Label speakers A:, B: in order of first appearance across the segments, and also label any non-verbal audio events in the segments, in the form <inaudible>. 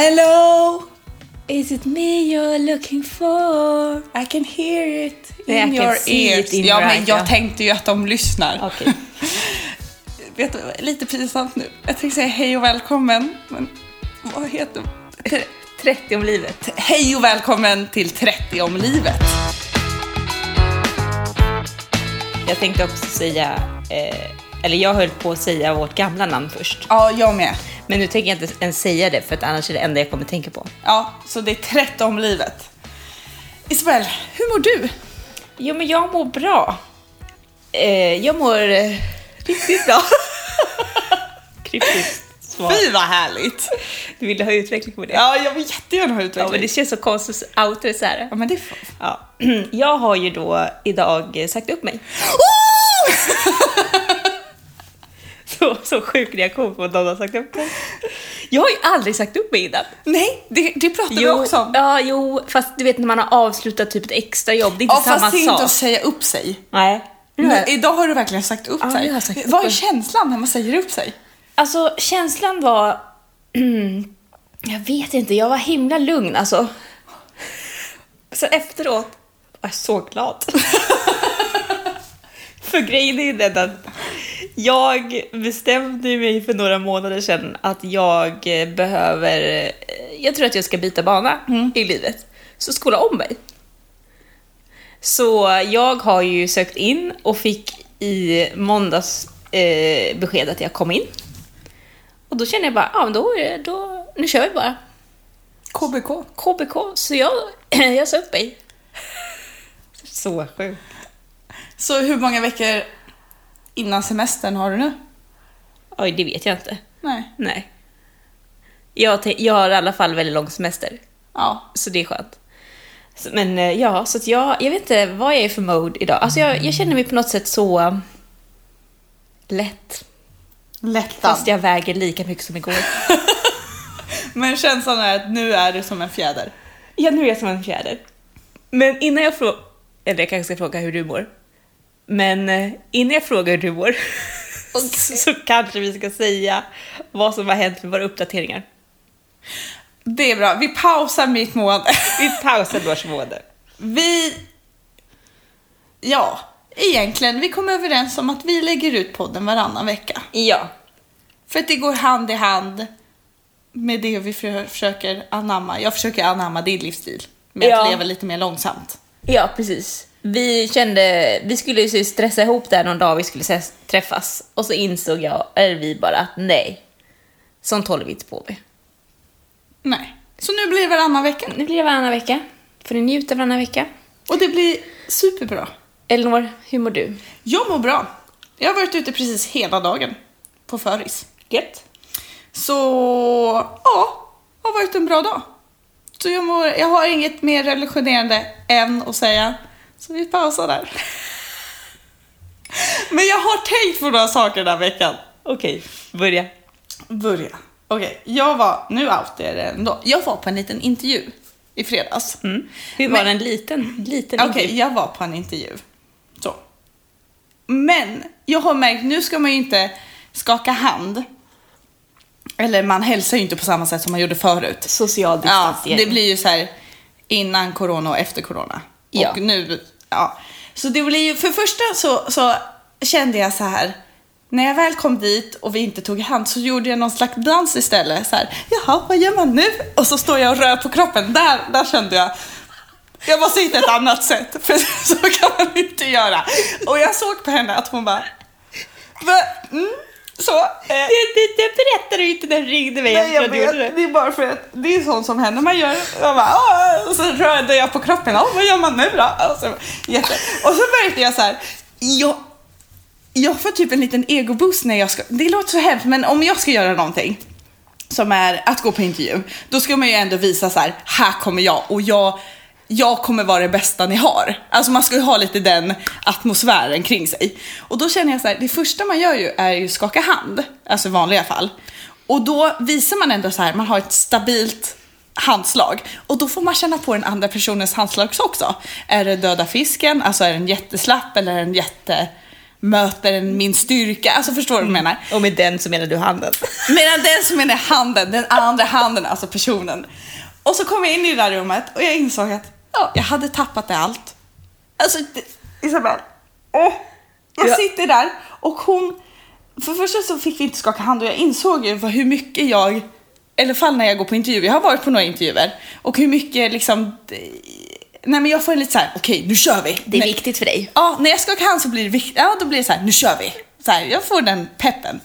A: Hello!
B: Is it me you're looking for?
A: I can hear it in
B: Nej, I can
A: your
B: see it
A: ears.
B: in
A: ja,
B: your
A: men
B: eyes,
A: jag
B: ja.
A: tänkte ju att de lyssnar.
B: Okej.
A: <laughs> Vet du, vad, lite pinsamt nu. Jag tänkte säga hej och välkommen, men vad heter
B: 30 om livet.
A: Hej och välkommen till 30 om livet.
B: Jag tänkte också säga, eh, eller jag höll på att säga vårt gamla namn först.
A: Ja, jag med.
B: Men nu tänker jag inte ens säga det för att annars är det enda jag kommer tänka på.
A: Ja, så det är 30 om livet. Isabel, hur mår du?
B: Jo men jag mår bra. Eh, jag mår eh, riktigt bra. <laughs> Kryptiskt svar.
A: Fy vad
B: <laughs>
A: härligt!
B: Du ville ha utveckling på det?
A: Ja, jag vill jättegärna ha
B: Ja, men
A: utveckling.
B: det känns så konstigt att outa det så här.
A: Ja, men det får...
B: Ja. <clears throat> Jag har ju då idag sagt upp mig. Oh! <laughs> Så, så sjuk reaktion på att någon har sagt upp mig. Jag har ju aldrig sagt upp mig innan.
A: Nej, det, det pratar vi också om.
B: ja, jo, fast du vet när man har avslutat typ ett extra jobb, det är inte
A: Ja,
B: samma
A: fast det är inte
B: sak.
A: att säga upp sig.
B: Nej.
A: Nu, idag har du verkligen sagt upp
B: Ja,
A: sig.
B: jag har sagt upp
A: Vad är
B: mig.
A: känslan när man säger upp sig?
B: Alltså känslan var... <clears throat> jag vet inte, jag var himla lugn alltså. Så efteråt var jag så glad. <laughs> för grejen är ju den att jag bestämde mig för några månader sedan att jag eh, behöver... eh, Jag tror att jag ska byta bana i livet. Så skola om mig. Så jag har ju sökt in och fick i måndags eh, besked att jag kom in. Och då känner jag bara, ja men då, är det- då nu kör vi bara.
A: KBK.
B: KBK, så jag, <clears throat> jag sa upp mig. Så sjukt.
A: Så hur många veckor innan semestern har du nu?
B: Oj, det vet jag inte.
A: Nej.
B: Nej. Jag, tän- jag har i alla fall väldigt lång semester,
A: Ja.
B: så det är skönt. Så- Men eh, ja, så att jag, jag vet inte vad jag är för mode idag. Alltså jag, jag känner mig på något sätt så eh, lätt.
A: Lättad.
B: Fast jag väger lika mycket som igår.
A: Men känslan är att nu är du som en fjäder.
B: Ja, nu är jag som en fjäder. Men innan jag frågar... Eller jag kanske ska fråga hur du mår. Men eh, innan jag frågar hur du mår <laughs> så kanske vi ska säga vad som har hänt med våra uppdateringar.
A: Det är bra. Vi pausar mitt mående.
B: Vi pausar Börsmående.
A: <laughs> Vi... Ja, egentligen. Vi kom överens om att vi lägger ut podden varannan vecka.
B: Ja.
A: För att det går hand i hand med det vi för- försöker anamma. Jag försöker anamma din livsstil. Med
B: Ja.
A: att leva lite mer långsamt.
B: Ja, precis. Vi kände, vi skulle ju stressa ihop där någon dag vi skulle ses- träffas och så insåg jag, eller vi bara, att nej. Sånt håller vi inte på med.
A: Nej. Så nu blir det varannan vecka.
B: Nu blir det varannan vecka. Får ni njuta varannan vecka.
A: Och det blir superbra.
B: Elinor, hur mår du?
A: Jag mår bra. Jag har varit ute precis hela dagen på föris.
B: Gött.
A: Så ja, har varit en bra dag. Så jag, mår, jag har inget mer revolutionerande än att säga, så vi pausar där. <laughs> Men jag har tänkt på några saker den här veckan.
B: Okej, börja.
A: Börja. Okej, jag var, nu outar jag det ändå. Jag var på en liten intervju i fredags.
B: Hur var
A: Men-
B: den liten? liten
A: Okej, jag var på en intervju. Så. Men jag har märkt, nu ska man ju inte skaka hand. Eller man hälsar ju inte på samma sätt som man gjorde förut.
B: Social
A: Ja,
B: distansering.
A: det blir ju så här innan corona och efter corona.
B: Ja.
A: Och nu, ja. Så det blir ju, för det första så, så kände jag så här. När jag väl kom dit och vi inte tog i hand så gjorde jag någon slags dans istället. Så här, Jaha, vad gör man nu? Och så står jag och rör på kroppen. Där, där kände jag, jag måste hitta ett annat sätt, för <laughs> så kan man inte göra. Och jag såg på henne att hon bara... "Va? Mm, så. Eh,
B: det, det, det berättade du inte när du ringde mig
A: nej,
B: efter
A: jag
B: att du gjorde
A: vet,
B: det.
A: det är bara för att det är sånt som händer. Man gör, jag bara, "Ah", och så rörde jag på kroppen. "Ah, vad gör man nu då? Och så, jätte. Och så märkte jag så här, jag, jag får typ en liten egoboost när jag ska... Det låter så hemskt, men om jag ska göra någonting som är att gå på intervju, då ska man ju ändå visa så här, här kommer jag och jag, jag kommer vara det bästa ni har. Alltså man ska ju ha lite den atmosfären kring sig. Och då känner jag så här, det första man gör ju är ju skaka hand, alltså i vanliga fall. Och då visar man ändå så här, man har ett stabilt handslag. Och då får man känna på den andra personens handslag också. Är det döda fisken, alltså är den jätteslapp eller är den jätte möter min styrka. Alltså förstår du vad jag menar?
B: Och med den så menar du handen.
A: Medan den som är handen, den andra handen, alltså personen. Och så kom jag in i det där rummet och jag insåg att ja, jag hade tappat det allt. Alltså, det- Isabel. Åh, jag
B: Ja.
A: sitter där och hon... För det första så fick vi inte skaka hand och jag insåg ju vad- hur mycket jag... I alla fall när jag går på intervjuer, jag har varit på några intervjuer. Och hur mycket liksom... Nej men jag får en lite så här, okej nu kör vi.
B: Det är
A: Nej.
B: viktigt för dig.
A: Ja, när jag skakar hand så blir det viktigt. Ja, då blir det så här, nu kör vi. Så här, jag får den peppen.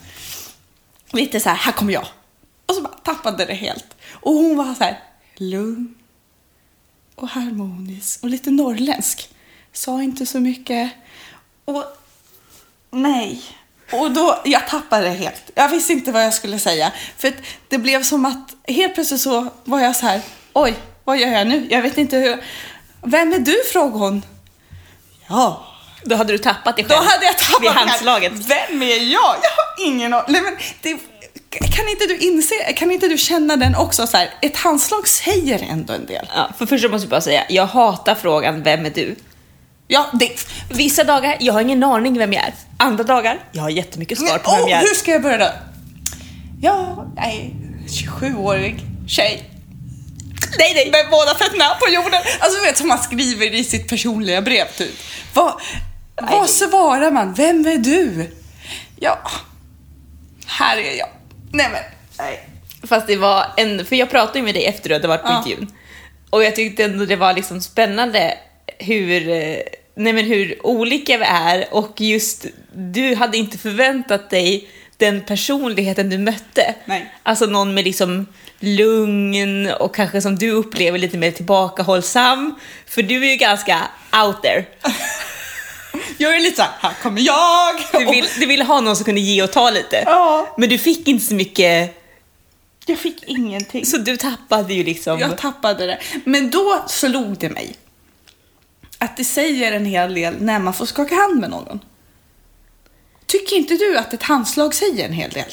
A: Lite så här, här kommer jag. Och så bara tappade det helt. Och hon var så här, lugn och harmonisk och lite norrländsk. Sa inte så mycket. Och nej. Och då, jag tappade det helt. Jag visste inte vad jag skulle säga. För att det blev som att helt plötsligt så var jag så här, oj, vad gör jag nu? Jag vet inte hur. Vem är du? frågade hon. Ja,
B: Då hade du tappat dig
A: då
B: själv.
A: hade jag tappat
B: Vid
A: det här.
B: handslaget.
A: Vem är jag? Jag har ingen aning. Nej, men det- Kan inte du inse, kan inte du känna den också så här, ett handslag säger ändå en del.
B: Ja, för först så måste jag bara säga, jag hatar frågan vem är du?
A: Ja, det...
B: Vissa dagar, jag har ingen aning vem jag är. Andra dagar, jag har jättemycket svar på vem
A: Oh,
B: jag är.
A: hur ska jag börja då? Ja, nej, 27-årig tjej. Nej, nej, med båda fötterna på jorden. Alltså du vet som man skriver i sitt personliga brev typ. Vad, vad svarar man? Vem är du? Ja, här är jag. Nej men, nej.
B: Fast det var en, för jag pratade ju med dig efter du hade varit på
A: Ja.
B: intervjun. Och jag tyckte ändå det var liksom spännande hur, eh, nej men hur olika vi är och just du hade inte förväntat dig den personligheten du mötte.
A: Nej.
B: Alltså någon med liksom lugn och kanske som du upplever lite mer tillbakahållsam. För du är ju ganska out there.
A: Jag är lite såhär, här kommer jag!
B: Du vill, du vill ha någon som kunde ge och ta lite.
A: Ja.
B: Men du fick inte så mycket,
A: Jag fick ingenting.
B: så du tappade ju liksom.
A: Jag tappade det. Men då slog det mig att det säger en hel del när man får skaka hand med någon. Tycker inte du att ett handslag säger en hel del?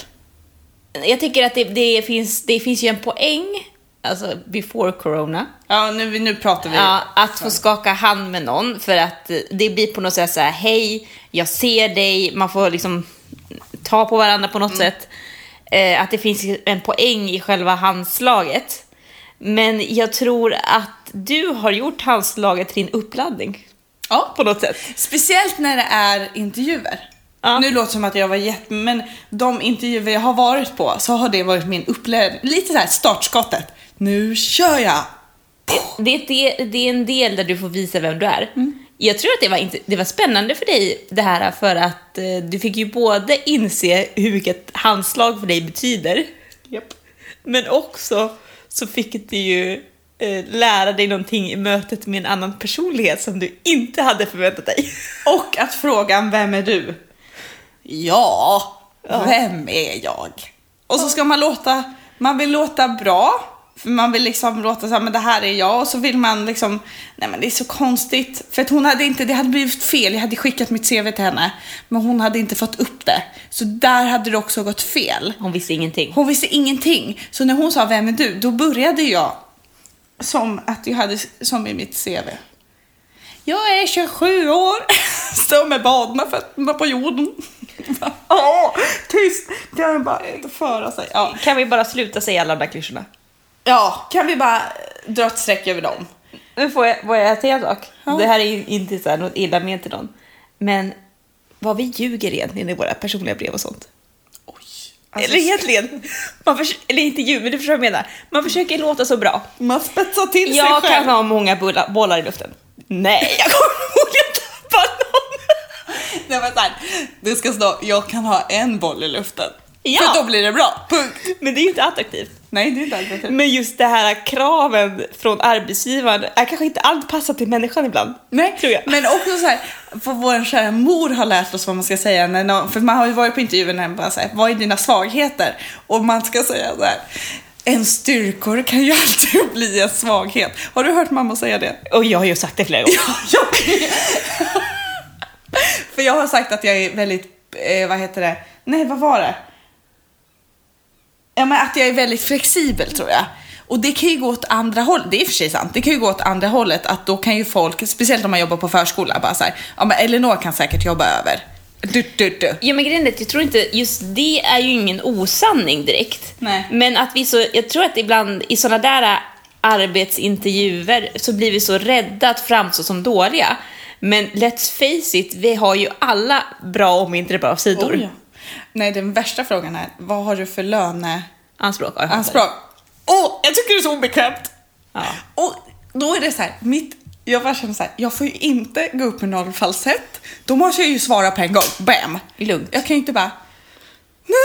B: Jag tycker att det, det, finns, det finns ju en poäng, alltså before corona,
A: Ja, nu, nu pratar vi.
B: ja, att få skaka hand med någon för att eh, det blir på något sätt så här, hej, jag ser dig, man får liksom ta på varandra på något sätt. Eh, att det finns en poäng i själva handslaget. Men jag tror att du har gjort handslaget till din uppladdning
A: Ja.
B: på något sätt.
A: Speciellt när det är intervjuer.
B: Ja.
A: Nu låter det som att jag var jätte... Men de intervjuer jag har varit på så har det varit min upplevelse. Lite så här startskottet. Nu kör jag!
B: Det, det, det är en del där du får visa vem du är. Jag tror att det var, inte, det var spännande för dig det här för att eh, du fick ju både inse hur mycket handslag för dig betyder, men också så fick du ju eh, lära dig någonting i mötet med en annan personlighet som du inte hade förväntat dig.
A: Och att frågan vem är du? Ja, vem är jag? Och så ska man låta, man vill låta bra. För man vill liksom låta så här, men det här är jag. Och så vill man liksom, nej men det är så konstigt. För att hon hade inte, det hade blivit fel. Jag hade skickat mitt CV till henne. Men hon hade inte fått upp det. Så där hade det också gått fel.
B: Hon visste ingenting.
A: Hon visste ingenting. Så när hon sa vem är du? Då började jag som att jag hade som i mitt CV. Jag är 27 år, <laughs> står med badna fötterna på jorden. <laughs> Åh, tyst! Kan jag bara inte föra sig? Ja.
B: Kan vi bara sluta säga alla de där klyschorna?
A: ja, kan vi bara dra ett streck över dem?
B: Nu får jag, får jag säga en sak.
A: Ja.
B: Det här är ju inte så här något illa ment till någon. Men vad vi ljuger egentligen i våra personliga brev och sånt.
A: Oj. Alltså,
B: eller egentligen, man förs- eller inte ljuger, men du förstår vad jag menar. Man försöker låta så bra.
A: man spetsar till sig
B: Jag
A: själv.
B: kan ha många bulla- bollar i luften. Nej, <laughs> jag kommer förmodligen tappa någon.
A: <laughs> Nej, men så här, det ska stå, jag kan ha en boll i luften.
B: Ja.
A: För då blir det bra. Punkt.
B: <laughs> Men det är ju inte attraktivt.
A: Nej, det är inte alls
B: Men just det här kraven från arbetsgivaren är kanske inte anpassat till människan ibland.
A: Nej,
B: tror jag.
A: men också så här, för vår kära mor har lärt oss vad man ska säga. När någon, för man har ju varit på intervjuer när man bara säger, vad är dina svagheter? Och man ska säga så här, en styrkor kan ju <laughs> alltid bli en svaghet. Har du hört mamma säga det?
B: Och jag har ju sagt det flera gånger.
A: Ja, <laughs> jag- för jag har sagt att jag är väldigt, eh, vad heter det, nej vad var det? Ja men att jag är väldigt flexibel tror jag. Och det kan ju gå åt andra hållet, det är i och för sig sant, det kan ju gå åt andra hållet att då kan ju folk, speciellt om man jobbar på förskola, bara såhär, ja men Elinor kan säkert jobba över. Du, du, du.
B: Ja men grejen är att jag tror inte, just det är ju ingen osanning direkt.
A: Nej.
B: Men att vi så, jag tror att ibland i sådana där äh, arbetsintervjuer så blir vi så rädda att framstå som dåliga. Men let's face it, vi har ju alla bra om inte bra sidor.
A: Oj, ja. Nej, den värsta frågan är, vad har du för löneanspråk?
B: Anspråk har jag
A: Åh, jag tycker det är så obekvämt!
B: Ja.
A: Och då är det så här, mitt, jag bara känner så här, jag får ju inte gå upp med noll falsett. Då måste jag ju svara på en gång, bam!
B: Lugnt.
A: Jag kan ju inte bara... "Nej."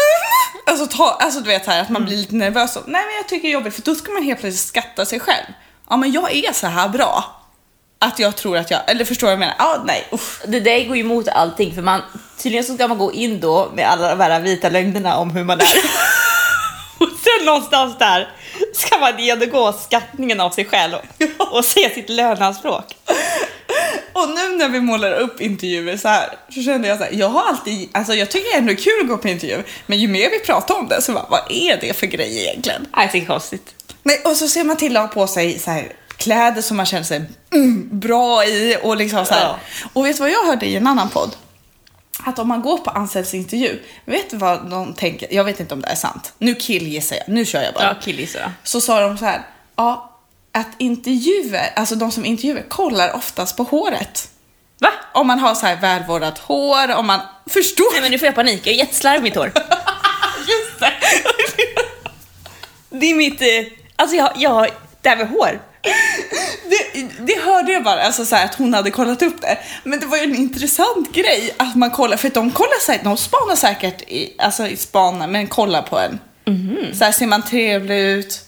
A: Alltså, ta, alltså du vet så här, att man
B: Mm.
A: blir lite nervös. Och, Nej men jag tycker det är jobbigt för då ska man helt plötsligt skatta sig själv. Ja men jag är så här bra. Att jag tror att jag, eller förstår vad jag menar? Ja, nej, uff.
B: Det där går ju emot allting för man, tydligen så ska man gå in då med alla de här vita lögnerna om hur
A: <laughs>
B: man är. och sen någonstans där ska man genomgå skattningen av sig själv och se sitt löneanspråk.
A: Och nu när vi målar upp intervjuer så här så kände jag så här, jag har alltid, alltså jag tycker ändå det är kul att gå på intervju, men ju mer vi pratar om det så bara, vad är det för grej egentligen?
B: Nej, Ah, det är konstigt.
A: Nej, och så ser man till att ha på sig så här, kläder som man känner sig mm, bra i och liksom så här.
B: Ja.
A: Och vet du vad jag hörde i en annan podd? Att om man går på Ansells intervju, vet du vad de tänker? Jag vet inte om det är sant. Nu killgissar jag, nu kör jag bara.
B: Ja, killgissar jag.
A: Så sa de så här, ja, att intervjuer, alltså de som intervjuar kollar oftast på håret.
B: Va?
A: Om man har så här välvårdat hår, om man förstår.
B: Nej men nu får jag panik, jag är jätteslarvig i mitt <laughs> hår.
A: Just det.
B: Det är mitt, eh, alltså jag, jag, det här med hår.
A: Det, det hörde jag bara, alltså så här, att hon hade kollat upp det. Men det var ju en intressant grej att man kollar, för att de kollar säkert, de spanar säkert, i, alltså i spana, men kollar på en. Så här ser man trevlig ut.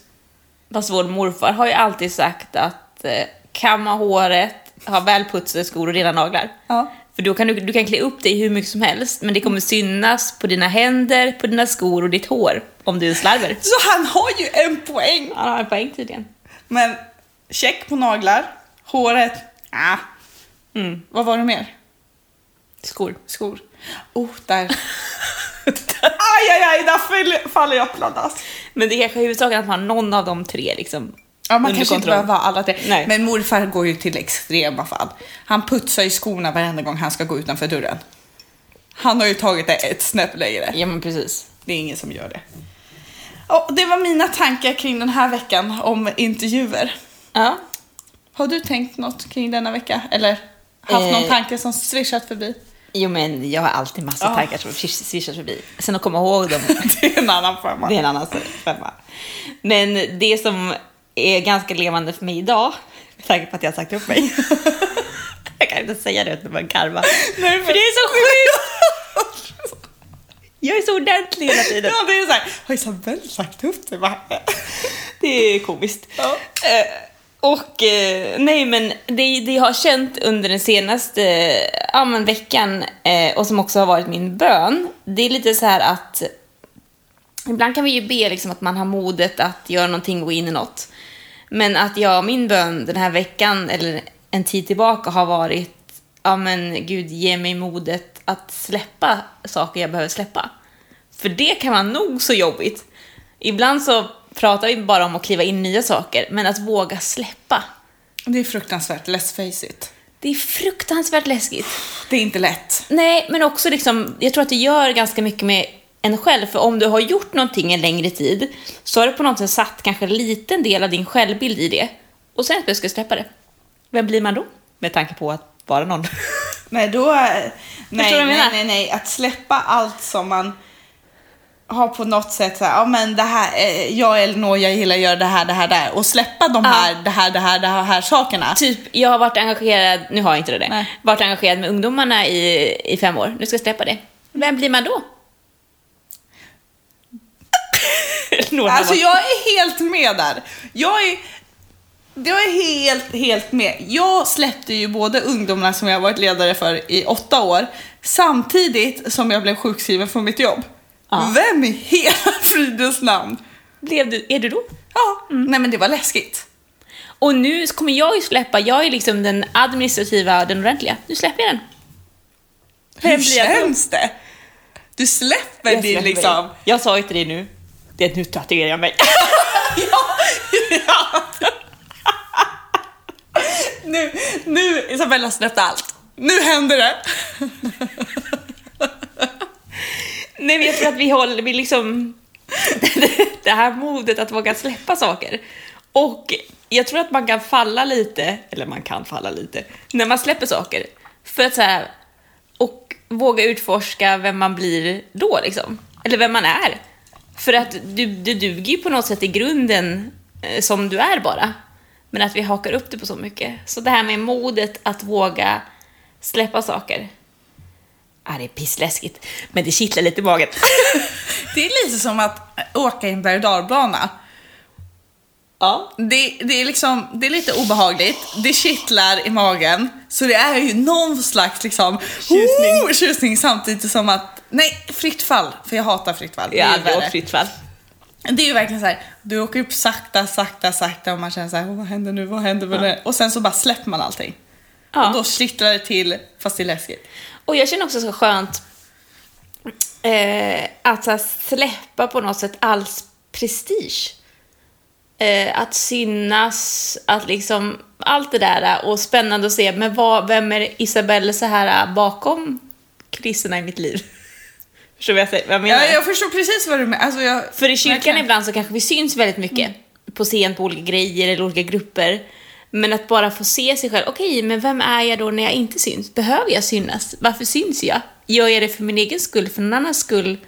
B: Fast vår morfar har ju alltid sagt att eh, kamma håret, ha välputsade skor och rena naglar.
A: Ja.
B: För då kan du, du kan klä upp dig hur mycket som helst, men det kommer synas på dina händer, på dina skor och ditt hår om du är slarver.
A: Så han har ju en poäng.
B: Han har en poäng tydligen.
A: Men check på naglar, håret, ah.
B: Mm.
A: Vad var det mer?
B: Skor.
A: Skor. Oh, där. aj, aj, aj, där fall- faller jag pladask.
B: Men det är kanske huvudsaken att man har någon av de tre liksom.
A: Ja, man
B: under
A: kanske inte
B: kontroll.
A: behöver ha alla tre.
B: Nej.
A: Men morfar går ju till extrema fall. Han putsar ju skorna varenda gång han ska gå utanför dörren. Han har ju tagit det ett snäpp längre.
B: Ja, men precis.
A: Det är ingen som gör det. Ja, det var mina tankar kring den här veckan om intervjuer.
B: Ja.
A: Har du tänkt något kring denna vecka? Eller haft
B: Eh.
A: någon tanke som swishat förbi? <laughs>
B: Jo, men jag har alltid massa
A: Ja.
B: tankar som svischar förbi. Sen att komma ihåg dem,
A: det är en annan femma.
B: det är en annan femma. Men det som är ganska levande för mig idag, med tanke på att jag har sagt upp mig. <laughs> jag kan inte säga det utan att karva.
A: <laughs> Nej,
B: För det är så sjukt! Jag är så ordentlig hela tiden.
A: Ja, det är såhär, har Isabelle sagt upp det? Va?
B: Det är komiskt.
A: Ja.
B: Eh, och eh, nej men det, det jag har känt under den senaste eh, ja, men veckan eh, och som också har varit min bön, det är lite så här att ibland kan vi ju be liksom att man har modet att göra någonting och gå in i något. Men att jag, min bön den här veckan eller en tid tillbaka har varit, ja men Gud ge mig modet att släppa saker jag behöver släppa. För det kan vara nog så jobbigt. Ibland så pratar vi bara om att kliva in i nya saker, men att våga släppa.
A: Det är fruktansvärt, let's face it.
B: Det är fruktansvärt läskigt.
A: Det är inte lätt.
B: Nej, men också liksom, jag tror att det gör ganska mycket med en själv, för om du har gjort någonting en längre tid så har du på något sätt satt kanske en liten del av din självbild i det och sen att du ska släppa det. Vem blir man då? Med tanke på att vara någon.
A: Nej, då... Nej,
B: vad jag
A: nej,
B: menar?
A: nej, nej, Att släppa allt som man har på något sätt så här, ja men det här, eh, jag eller några jag gillar gör det här, det här, det här. Och släppa de
B: Ja.
A: här, det här, det här, det här, här sakerna.
B: <laughs> typ, jag har varit engagerad, nu har jag inte det, där,
A: Nej.
B: varit engagerad med ungdomarna i, i fem år, nu ska jag släppa det. Vem blir man <laughs> då? Några
A: Alltså
B: var-
A: jag är helt med där. Jag är, jag är helt, helt med. Jag släppte ju både ungdomarna som jag har varit ledare för i åtta år, samtidigt som jag blev sjukskriven från mitt jobb.
B: Ja.
A: Vem i hela <laughs> fridens namn?
B: Blev du, är du då?
A: Ja,
B: Mm.
A: nej men det var läskigt.
B: Och nu kommer jag ju släppa, jag är liksom den administrativa, den ordentliga. Nu släpper jag den.
A: Hur
B: blir jag då?
A: känns det? Du släpper
B: Jag
A: din
B: släpper
A: liksom...
B: mig. Jag sa ju till dig nu, det är nu tatuerar jag mig.
A: ja. nu, nu Isabella har släppt allt. Nu händer det.
B: Nej, men jag tror att vi håller, vi liksom... <laughs> Det här modet att våga släppa saker. Och jag tror att man kan falla lite, eller man kan falla lite, när man släpper saker. För att så här, och våga utforska vem man blir då liksom. Eller vem man är. För att du, du duger ju på något sätt i grunden eh, som du är bara. Men att vi hakar upp det på så mycket. Så det här med modet att våga släppa saker. Ja, det är pissläskigt, men det kittlar lite i magen.
A: <laughs>
B: <laughs>
A: Det är lite som att åka i en berg och dalbana.
B: Ja.
A: Det, det, är liksom, det är lite obehagligt, det kittlar i magen. Så det är ju någon slags liksom,
B: Tjusning.
A: Oh, tjusning samtidigt som att, nej, fritt fall. För jag hatar fritt fall.
B: Jag har aldrig
A: värre.
B: åkt fritt fall.
A: Det är ju verkligen så här, du åker upp sakta, sakta, sakta och man känner så här, "Åh, vad händer nu, vad händer, vad händer? Och sen så bara släpper man allting. Och då
B: Ja.
A: kittlar det till, fast det är läskigt.
B: Och jag känner också så skönt eh, att så här, släppa på något sätt all prestige. Eh, att synas, att liksom allt det där och spännande att se, men vad, vem är Isabelle så här eh, bakom kulisserna i mitt liv? <laughs> Förstår du vad jag, säger, vad jag menar?
A: Ja, jag förstår precis vad du menar. Alltså jag,
B: För i kyrkan
A: verkligen.
B: ibland så kanske vi syns väldigt mycket på scen på olika grejer eller olika grupper. Men att bara få se sig själv, okej, men vem är jag då när jag inte syns? Behöver jag synas? Varför syns jag? Gör jag det för min egen skull, för någon annans skull,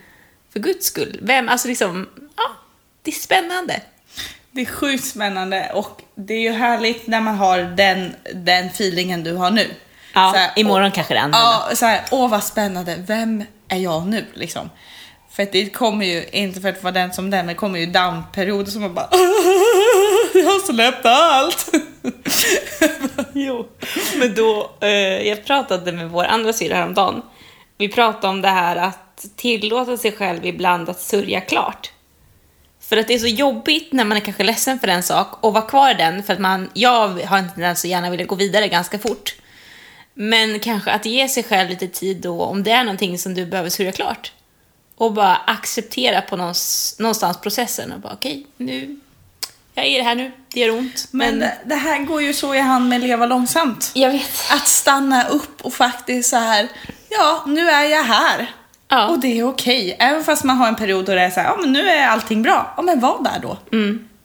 B: för Guds skull? Vem, alltså liksom, ja, det är spännande.
A: Det är sjukt spännande och det är ju härligt när man har den, den feelingen du har nu.
B: Ja,
A: Så här,
B: imorgon kanske det är annorlunda.
A: Ja, så här, åh vad spännande, vem är jag nu liksom? För att det kommer ju, inte för att vara den som den, men det kommer ju downperioder som man bara <laughs> Jag har släppt allt!
B: Jo, men då, eh, jag pratade med vår andra syrra häromdagen. Vi pratade om det här att tillåta sig själv ibland att sörja klart. För att det är så jobbigt när man är kanske ledsen för en sak och vara kvar i den för att man, jag har en tendens att gärna vilja gå vidare ganska fort. Men kanske att ge sig själv lite tid då om det är någonting som du behöver sörja klart. Och bara acceptera på någonstans, någonstans processen och bara okej, nu, jag är i det här nu, det gör ont.
A: Men
B: men
A: det här går ju så i hand med leva långsamt.
B: jag vet.
A: Att stanna upp och faktiskt så här, ja nu är jag här.
B: Ja.
A: Och det är okej. Även fast man har en period då det är så här, ja men nu är allting bra. Ja men var där då.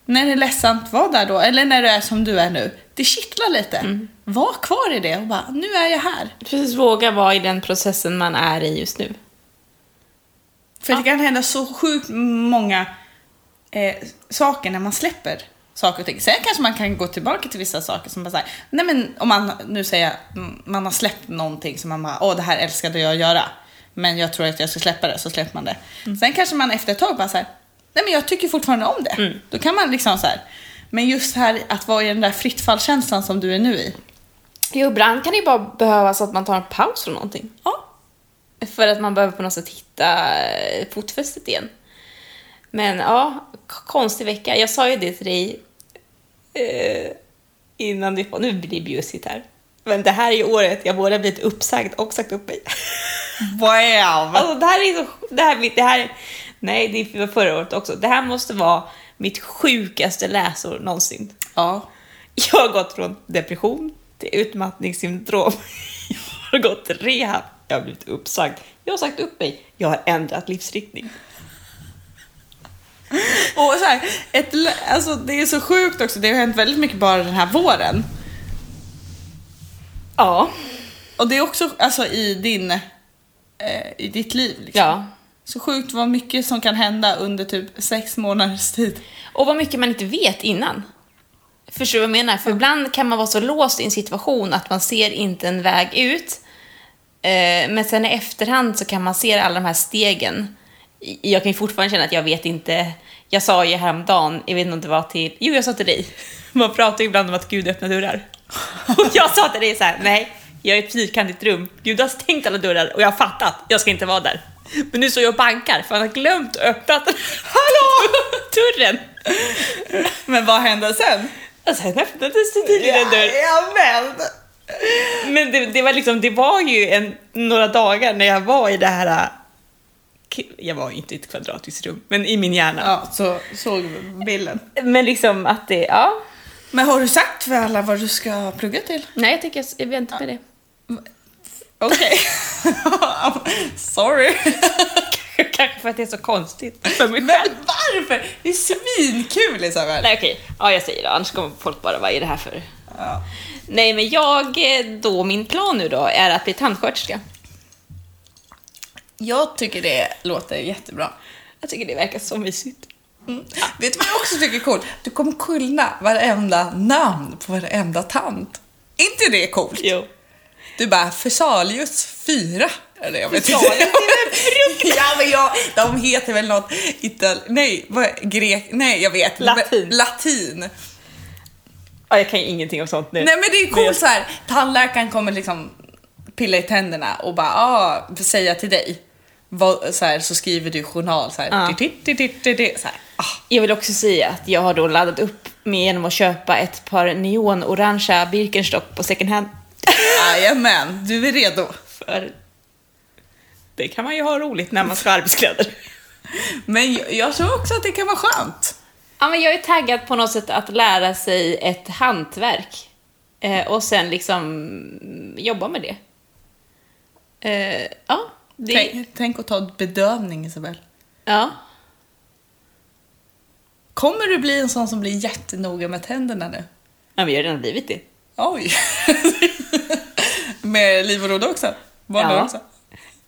A: När det är ledsamt, var där då. Eller när du är som du är nu. Det kittlar lite. Var kvar i det och bara, nu är jag här.
B: Precis, våga vara i den processen man är i just nu.
A: För det kan hända så sjukt många eh, saker när man släpper saker och ting. Sen kanske man kan gå tillbaka till vissa saker som bara såhär, nej men om man nu säger mm, man har släppt någonting som man bara, åh det här älskade jag att göra. Men jag tror att jag ska släppa det, så släpper man det. Sen kanske man efter ett tag bara såhär, nej men jag tycker fortfarande om det. Då kan man liksom såhär, men just här att vara i den där fritt fall-känslan som du är nu i.
B: Jo, ibland kan det ju bara behövas att man tar en paus från någonting.
A: Ja,
B: För att man behöver på något sätt hitta eh, fotfästet igen. Men ja, k- konstig vecka. Jag sa ju det till dig eh, innan du Nu blir det bjussigt här. Men det här är ju året jag både har blivit uppsagd och sagt upp mig.
A: wow!
B: Alltså det här är så... Det här, är mitt- det här, nej, det var förra året också. Det här måste vara mitt sjukaste läsår någonsin.
A: Ja.
B: Jag har gått från depression till utmattningssyndrom. <laughs> Jag har gått till rehab. Jag har blivit uppsagd. Jag har sagt upp mig. Jag har ändrat livsriktning.
A: Och så här, ett, lä- alltså det är så sjukt också, det har hänt väldigt mycket bara den här våren.
B: Ja.
A: Och det är också alltså, i, din, eh, i ditt liv. Liksom.
B: ja.
A: Så sjukt vad mycket som kan hända under typ sex månaders tid.
B: Och vad mycket man inte vet innan. Förstår du vad jag menar? För ibland kan man vara så låst i en situation att man ser inte en väg ut. Eh, Men sen i efterhand så kan man se alla de här stegen. I- Jag kan ju fortfarande känna att jag vet inte. Jag sa ju häromdagen, jag vet inte om det var till... Jo, jag sa till dig. <laughs> Man pratar ju ibland om att Gud öppnar dörrar. Och jag sa till dig så här, nej, jag är i ett fyrkantigt rum. Gud har stängt alla dörrar och jag har fattat, jag ska inte vara där. Men nu står jag och bankar för han har glömt att öppna den. Hallå! <laughs> dörren.
A: Men vad hände sen?
B: Och sen öppnades det tydligen en dörr.
A: Jajamän!
B: Men det, det, var liksom, det var ju en, några dagar när jag var i det här... äh, k- Jag var ju inte i ett kvadratiskt rum, men i min hjärna.
A: Ja, så såg vi bilden.
B: Men liksom att det, ja.
A: Men har du sagt för alla vad du ska plugga till?
B: Nej, jag tänker jag väntar med det.
A: Okej. <laughs> Sorry.
B: <laughs> Kanske för att det är så konstigt för mig
A: Men
B: själv.
A: varför? Det är svinkul Isabel.
B: Nej okej, ja jag säger det, annars kommer folk bara, vad är det här för?
A: Ja.
B: Nej men jag, eh, då min plan nu då är att bli tandsköterska.
A: Jag tycker det låter jättebra.
B: Jag tycker det verkar så mysigt.
A: Mm. Vet du vad jag också tycker är coolt? Du kommer kunna varenda namn på varenda tant. inte det coolt?
B: Jo.
A: Du bara Fesalius 4. Eller jag vet inte.
B: Fesalius, det
A: <laughs> ja, men jag, de heter väl något ital... Nej, vad, grek... Nej, jag vet.
B: Latin.
A: Latin.
B: Ja, jag kan ju ingenting om sånt nu.
A: Nej men det är coolt så här. tandläkaren kommer liksom pilla i tänderna och bara ah, säga till dig. Vad, så, här, så skriver du journal så här.
B: Ja.
A: Titt, titt, titt, titt, titt, så här. Ah,
B: Jag vill också säga att jag har då laddat upp med genom att köpa ett par neonorangea Birkenstock på second hand.
A: <laughs> Jajamän, du är redo.
B: För det kan man ju ha roligt när man ska ha arbetskläder.
A: Men jag, jag tror också att det kan vara skönt.
B: <laughs> Ja, men jag är taggad på något sätt att lära sig ett hantverk eh, och sen liksom jobba med det. Eh, ja, det...
A: Tänk, tänk att ta en bedövning Isabel.
B: Ja.
A: Kommer du bli en sån som blir jättenoga med tänderna nu?
B: ja, men jag har redan blivit det.
A: Oj! <laughs> med liv och rodd också? Var
B: Ja.
A: det också?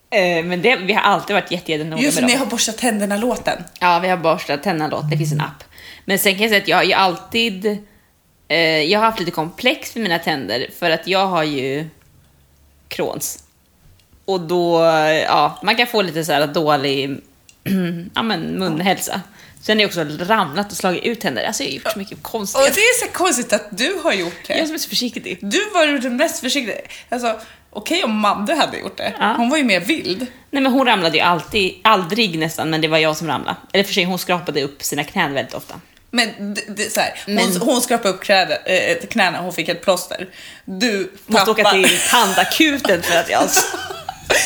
B: Eh, men det, vi har alltid varit jätte- jättenoga
A: Just
B: med
A: när jag
B: dem.
A: har borstat tänderna-låten.
B: Ja, vi har borstat tänderna låt, det finns en app. Men sen kan jag säga att jag har ju alltid... Eh, jag har haft lite komplex för mina tänder för att jag har ju Crohns. Och då, ja, man kan få lite så här dålig <clears throat> ja, men munhälsa. Sen har jag också ramlat och slagit ut tänder. Alltså jag har gjort så mycket
A: Och det
B: konstigt.
A: är så konstigt att du har gjort
B: Jag
A: det.
B: som är så försiktig.
A: Du var ju den mest försiktiga. Alltså, Okej om Madde hade gjort det.
B: Ja.
A: Hon var ju mer vild.
B: Nej men hon ramlade ju alltid, aldrig nästan, men det var jag som ramlade. Eller för sig, hon skrapade upp sina knän väldigt ofta.
A: Men d- det, är så här,
B: Men-
A: Hon, hon skrapade upp kräde, eh, knäna och hon fick ett plåster. Du
B: Måste åka
A: tappade- <laughs>
B: till tandakuten för att jag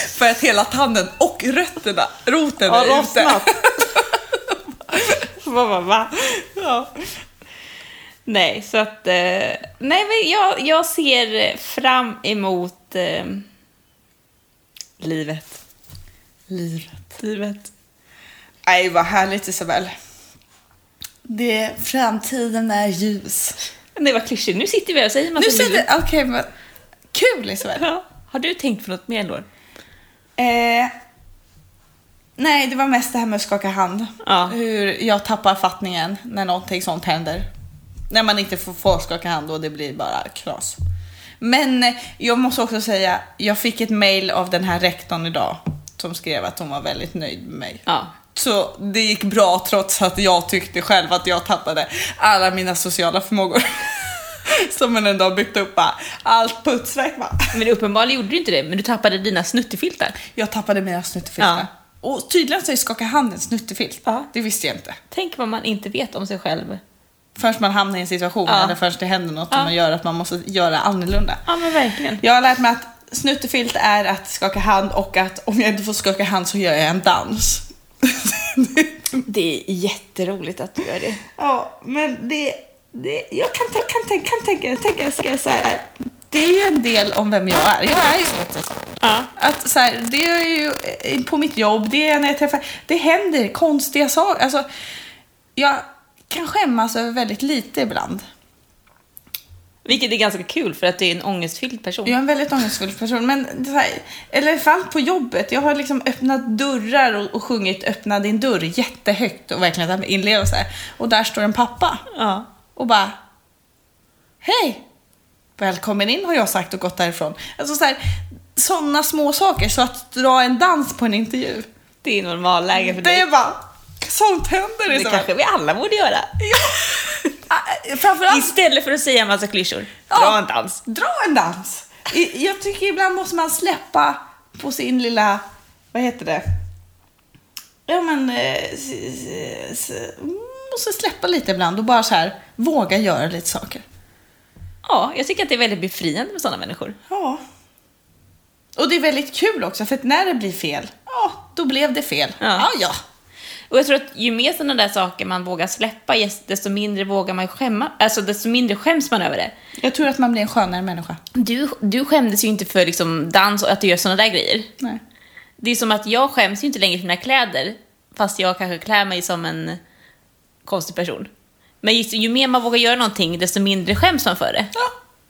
A: för att hela tanden och rötterna, roten
B: har
A: är ute.
B: lossnat. <laughs> Vad, vad, va? Ja. Nej, så att... eh, Nej, men jag, jag ser fram emot eh, livet.
A: Livet.
B: Livet.
A: Nej, vad härligt Isabel. Det, framtiden är ljus. Alltså,
B: Nej, vad klyschigt. Nu sitter vi här och säger en massa
A: Nu ser
B: livet.
A: det, okej men kul Isabel.
B: Ja. Har du tänkt på något mer, Lår?
A: Eh, nej, det var mest det här med att skaka hand.
B: Ja.
A: Hur jag tappar fattningen när någonting sånt händer. När man inte får, får skaka hand och det blir bara kras. Men eh, jag måste också säga, jag fick ett mail av den här rektorn idag som skrev att hon var väldigt nöjd med mig.
B: Ja.
A: Så det gick bra trots att jag tyckte själv att jag tappade alla mina sociala förmågor. <laughs> Som man en dag byggt upp bara, allt putsväck va.
B: Men uppenbarligen gjorde du inte det, men du tappade dina snuttefiltar.
A: Jag tappade mina snuttefiltar.
B: Ja.
A: Och tydligen så är skaka handen snuttefilt.
B: Ja.
A: Det visste jag inte.
B: Tänk vad man inte vet om sig själv.
A: Förrän man hamnar i en situation
B: Ja.
A: eller förrän det händer något
B: Ja.
A: som gör att man måste göra annorlunda.
B: Ja, men verkligen.
A: Jag har lärt mig att snuttefilt är att skaka hand och att om jag inte får skaka hand så gör jag en dans. <laughs>
B: Det är jätteroligt att du gör det.
A: Ja, men det... det jag kan, kan, kan, tänka- kan tänka, tänka ska jag säga här. Det är ju en del om vem jag är. Jag är ju
B: Ja.
A: att så här, det är ju eh, på mitt jobb, det är när jag träffar... Det händer konstiga saker. Alltså, jag kan skämmas över väldigt lite ibland.
B: Vilket är ganska kul för att du är en ångestfylld person.
A: Jag är en väldigt ångestfull person, men det är så här, eller i alla fall på jobbet. Jag har liksom öppnat dörrar och, och sjungit öppna din dörr jättehögt och verkligen så här med inlevelse. Och där står en pappa.
B: Ja.
A: och bara Hej! Välkommen in har jag sagt och gått därifrån. Alltså så här, sådana små saker, så att dra en dans på en intervju.
B: Det är normalläge för
A: Det
B: dig.
A: är bara, sånt händer
B: Det
A: liksom.
B: kanske vi alla borde göra.
A: Ja, Ah, eh, framförallt,
B: Istället för att säga en massa klyschor.
A: Ja.
B: Dra en dans.
A: dra en dans! I- Jag tycker ibland måste man släppa på sin lilla, vad heter det? Ja men, eh, s- s- s- måste släppa lite ibland och bara så här, våga göra lite saker.
B: Ja, jag tycker att det är väldigt befriande med sådana människor.
A: Ja. Och det är väldigt kul också, för att när det blir fel, ja, då blev det fel. Ah,
B: Ja.
A: Ja, ja.
B: Och jag tror att ju mer sådana där saker man vågar släppa, desto mindre vågar man skämma, alltså desto mindre skäms man över det.
A: Jag tror att man blir en skönare människa.
B: Du, du skämdes ju inte för liksom dans och att du gör sådana där grejer.
A: Nej.
B: Det är som att jag skäms ju inte längre för mina kläder, fast jag kanske klär mig som en konstig person. Men just, ju mer man vågar göra någonting, desto mindre skäms man för det.
A: Ja,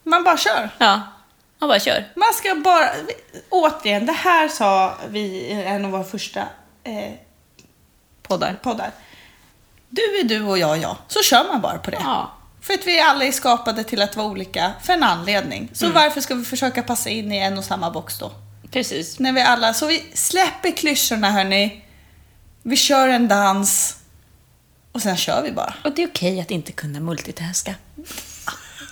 A: man bara kör.
B: Ja, man bara kör.
A: Man ska bara... Återigen, det här sa vi i en av våra första eh,
B: Poddar.
A: poddar. Du är du och jag är jag. Så kör man bara på det.
B: Ja.
A: För att vi alla är skapade till att vara olika för en anledning. Så varför ska vi försöka passa in i en och samma box då?
B: Precis.
A: När vi alla, så vi släpper klyschorna hörni. Vi kör en dans. Och sen kör vi bara.
B: Och det är okej att inte kunna multitaska.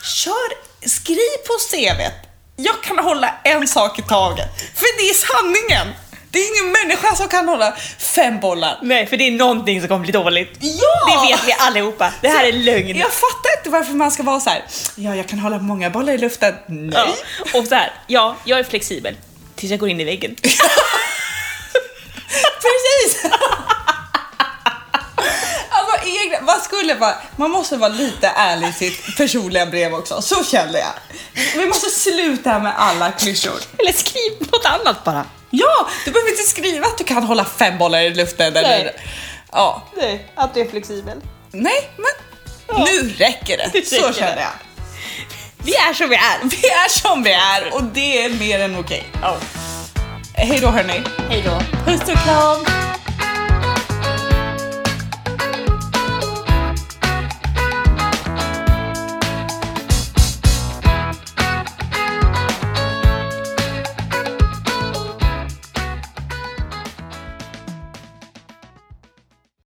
A: Kör, skriv på CVt. Jag kan hålla en sak i taget. För det är sanningen. Det är ingen människa som kan hålla fem bollar.
B: Nej, för det är någonting som kommer bli dåligt.
A: Ja!
B: Det vet vi allihopa. Det här är lögn.
A: Jag fattar inte varför man ska vara så här. Ja, jag kan hålla många bollar i luften. Nej.
B: Ja. Och så här, ja, jag är flexibel. Tills jag går in i väggen.
A: <laughs> Precis! alltså, egna, vad skulle vara, man måste vara lite ärlig i sitt personliga brev också, så kände jag. Vi måste sluta med alla klyschor.
B: <laughs> Eller skriv något annat bara.
A: Ja, du behöver inte skriva att du kan hålla fem bollar i luften. Eller,
B: Nej.
A: ja.
B: Nej, att du är flexibel.
A: Nej, men nu räcker det.
B: Nu
A: så
B: räcker
A: kände
B: det.
A: jag.
B: Vi är som vi är.
A: Vi är som vi är och det är mer än okej.
B: Ja.
A: Hej då hörni.
B: Hej då.
A: Puss och kram.